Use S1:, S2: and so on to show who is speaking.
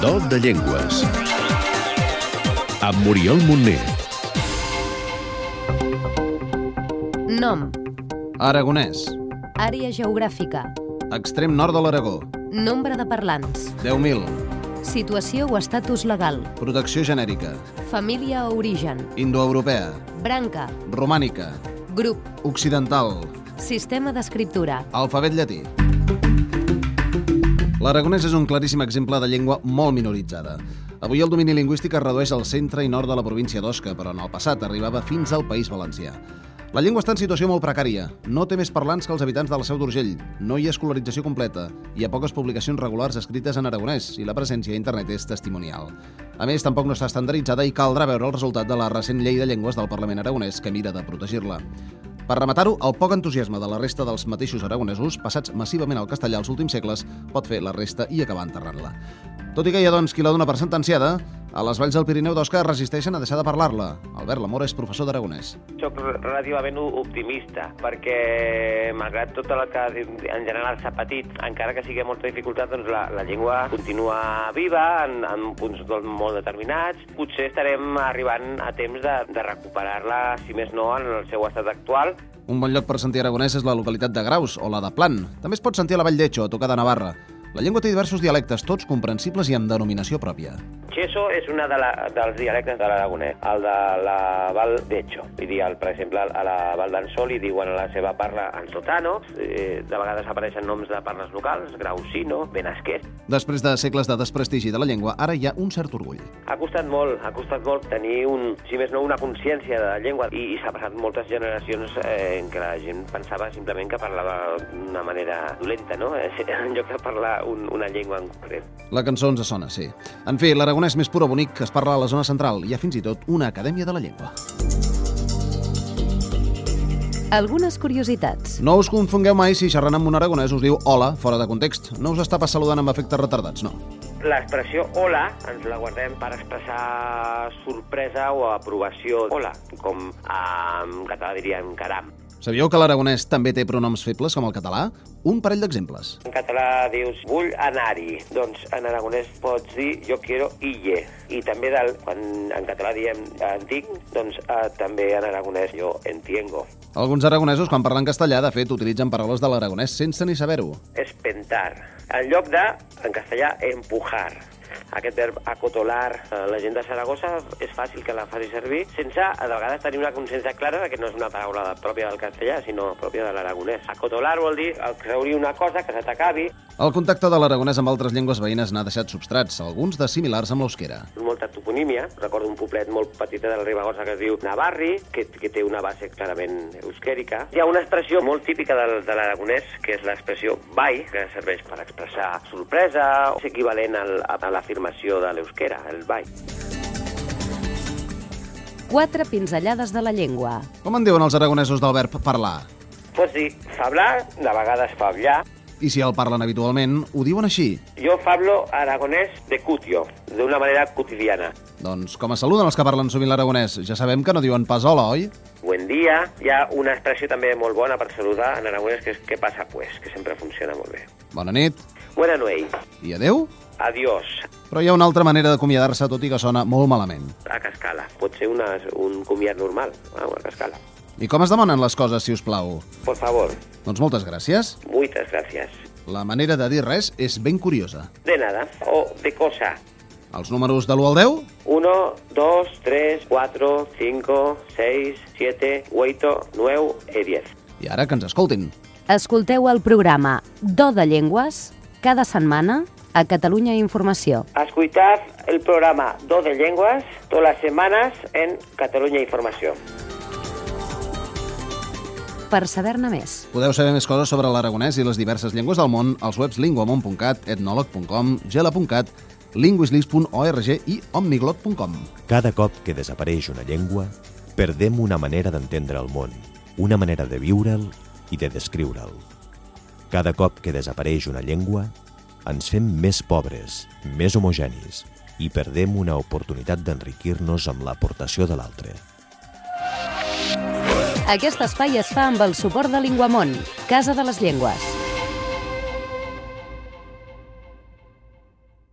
S1: Do de Llengües. Amb Muriel Montner.
S2: Nom,
S3: Aragonès,
S2: àrea geogràfica,
S3: extrem nord de l'Aragó,
S2: nombre de parlants,
S3: 10.000,
S2: situació o estatus legal,
S3: protecció genèrica,
S2: família o origen,
S3: indoeuropea,
S2: branca,
S3: romànica,
S2: grup,
S3: occidental,
S2: sistema d'escriptura,
S3: alfabet llatí. L'aragonès és un claríssim exemple de llengua molt minoritzada. Avui el domini lingüístic es redueix al centre i nord de la província d'Osca, però en el passat arribava fins al País Valencià. La llengua està en situació molt precària. No té més parlants que els habitants de la Seu d'Urgell. No hi ha escolarització completa. Hi ha poques publicacions regulars escrites en aragonès i la presència a internet és testimonial. A més, tampoc no està estandarditzada i caldrà veure el resultat de la recent llei de llengües del Parlament aragonès que mira de protegir-la. Per rematar-ho, el poc entusiasme de la resta dels mateixos aragonesos, passats massivament al castellà els últims segles, pot fer la resta i acabar enterrant-la. Tot i que hi ha, doncs, qui la dona per sentenciada, a les valls del Pirineu d'Osca es resisteixen a deixar de parlar-la. Albert Lamora és professor d'aragonès.
S4: Soc relativament optimista, perquè malgrat tot el que en general s'ha patit, encara que sigui amb molta dificultat, doncs la, la llengua continua viva en, en punts doncs, molt determinats. Potser estarem arribant a temps de, de recuperar-la, si més no, en el seu estat actual.
S3: Un bon lloc per sentir aragonès és la localitat de Graus o la de Plan. També es pot sentir a la vall d'Echo, a tocar de Navarra. La llengua té diversos dialectes, tots comprensibles i amb denominació pròpia.
S4: Cheso és una de la, dels dialectes de l'aragonès, el de la Val d'Echo. Vull dir, el, per exemple, a la Val d'en Sol hi diuen a la seva parla ansotano, eh, de vegades apareixen noms de parles locals, grausino, benasquès,
S3: Després de segles de desprestigi de la llengua, ara hi ha un cert orgull.
S4: Ha costat molt, ha costat molt tenir, un, si més no, una consciència de la llengua. I, i s'ha passat moltes generacions eh, en què la gent pensava simplement que parlava d'una manera dolenta, no? Eh, En lloc de parlar un, una llengua en concret.
S3: La cançó ens sona, sí. En fi, l'aragonès més pur o bonic que es parla a la zona central. Hi ha fins i tot una acadèmia de la llengua.
S2: algunes curiositats,
S3: No us confongueu mai si xerrant amb un aragonès us diu hola fora de context. No us està pas saludant amb efectes retardats, no.
S4: L'expressió hola ens la guardem per expressar sorpresa o aprovació. Hola, com ah, en català diríem caram.
S3: Sabíeu que l'aragonès també té pronoms febles com el català? Un parell d'exemples.
S4: En català dius, vull anar-hi. Doncs en aragonès pots dir, jo quiero ille. I també del, quan en català diem antic, doncs eh, també en aragonès jo entiengo.
S3: Alguns aragonesos, quan parlen castellà, de fet, utilitzen paraules de l'aragonès sense ni saber-ho.
S4: És pentar. En lloc de, en castellà, empujar. Aquest verb acotolar, eh, la gent de Saragossa és fàcil que la faci servir sense, a vegades, tenir una consciència clara de que no és una paraula pròpia del castellà, sinó pròpia de l'aragonès. Acotolar vol dir creure una cosa que se t'acabi,
S3: El contacte de l'aragonès amb altres llengües veïnes n'ha deixat substrats, alguns de similars amb l'eusquera.
S4: molta toponímia. Recordo un poblet molt petit de la Ribagorça que es diu Navarri, que, que té una base clarament euskèrica. Hi ha una expressió molt típica del, de l'aragonès, que és l'expressió bai, que serveix per expressar sorpresa, és equivalent al, a l'afirmació de l'euskera, el bai.
S2: quatre pinzellades de la llengua,
S3: Com en diuen els aragonesos del verb parlar?
S4: Pots dir fablar, de vegades fablar,
S3: I si el parlen habitualment, ho diuen així.
S4: jo fablo aragonès de cutio, d'una manera quotidiana.
S3: Doncs com es saluden els que parlen sovint l'aragonès? Ja sabem que no diuen pas hola, oi?
S4: Buen dia. Hi ha una expressió també molt bona per saludar en aragonès, que és què passa pues, que sempre funciona molt bé.
S3: Bona nit
S4: Buena nuit.
S3: i adeu.
S4: Adiós.
S3: Però hi ha una altra manera d'acomiadar-se, tot i que sona molt malament.
S4: a cascala. Pot ser una, un comiat normal, ah, a una cascala.
S3: I com es demanen les coses, si us plau?
S4: Por favor,
S3: Doncs moltes gràcies.
S4: muchas gracias.
S3: La manera de dir res és ben curiosa.
S4: De nada, o de cosa.
S3: Els números de l'1 al 10?
S4: 1, 2, 3, 4, 5, 6, 7, 8, 9 i 10.
S3: I ara que ens escoltin.
S2: Escolteu el programa Do de Llengües cada setmana a Catalunya Informació.
S4: Escoltad el programa Do de Llengües totes les setmanes en Catalunya Informació.
S2: Per saber-ne més,
S3: Podeu saber més coses sobre l'aragonès i les diverses llengües del món als webs linguamont.cat, etnolog.com, gela.cat, linguislis.org i omniglot.com.
S5: Cada cop que desapareix una llengua, perdem una manera d'entendre el món, una manera de viure'l i de descriure'l. Cada cop que desapareix una llengua, ens fem més pobres, més homogenis i perdem una oportunitat d'enriquir-nos amb l'aportació de l'altre.
S2: aquest espai es fa amb el suport de Linguamont, Casa de les Llengües.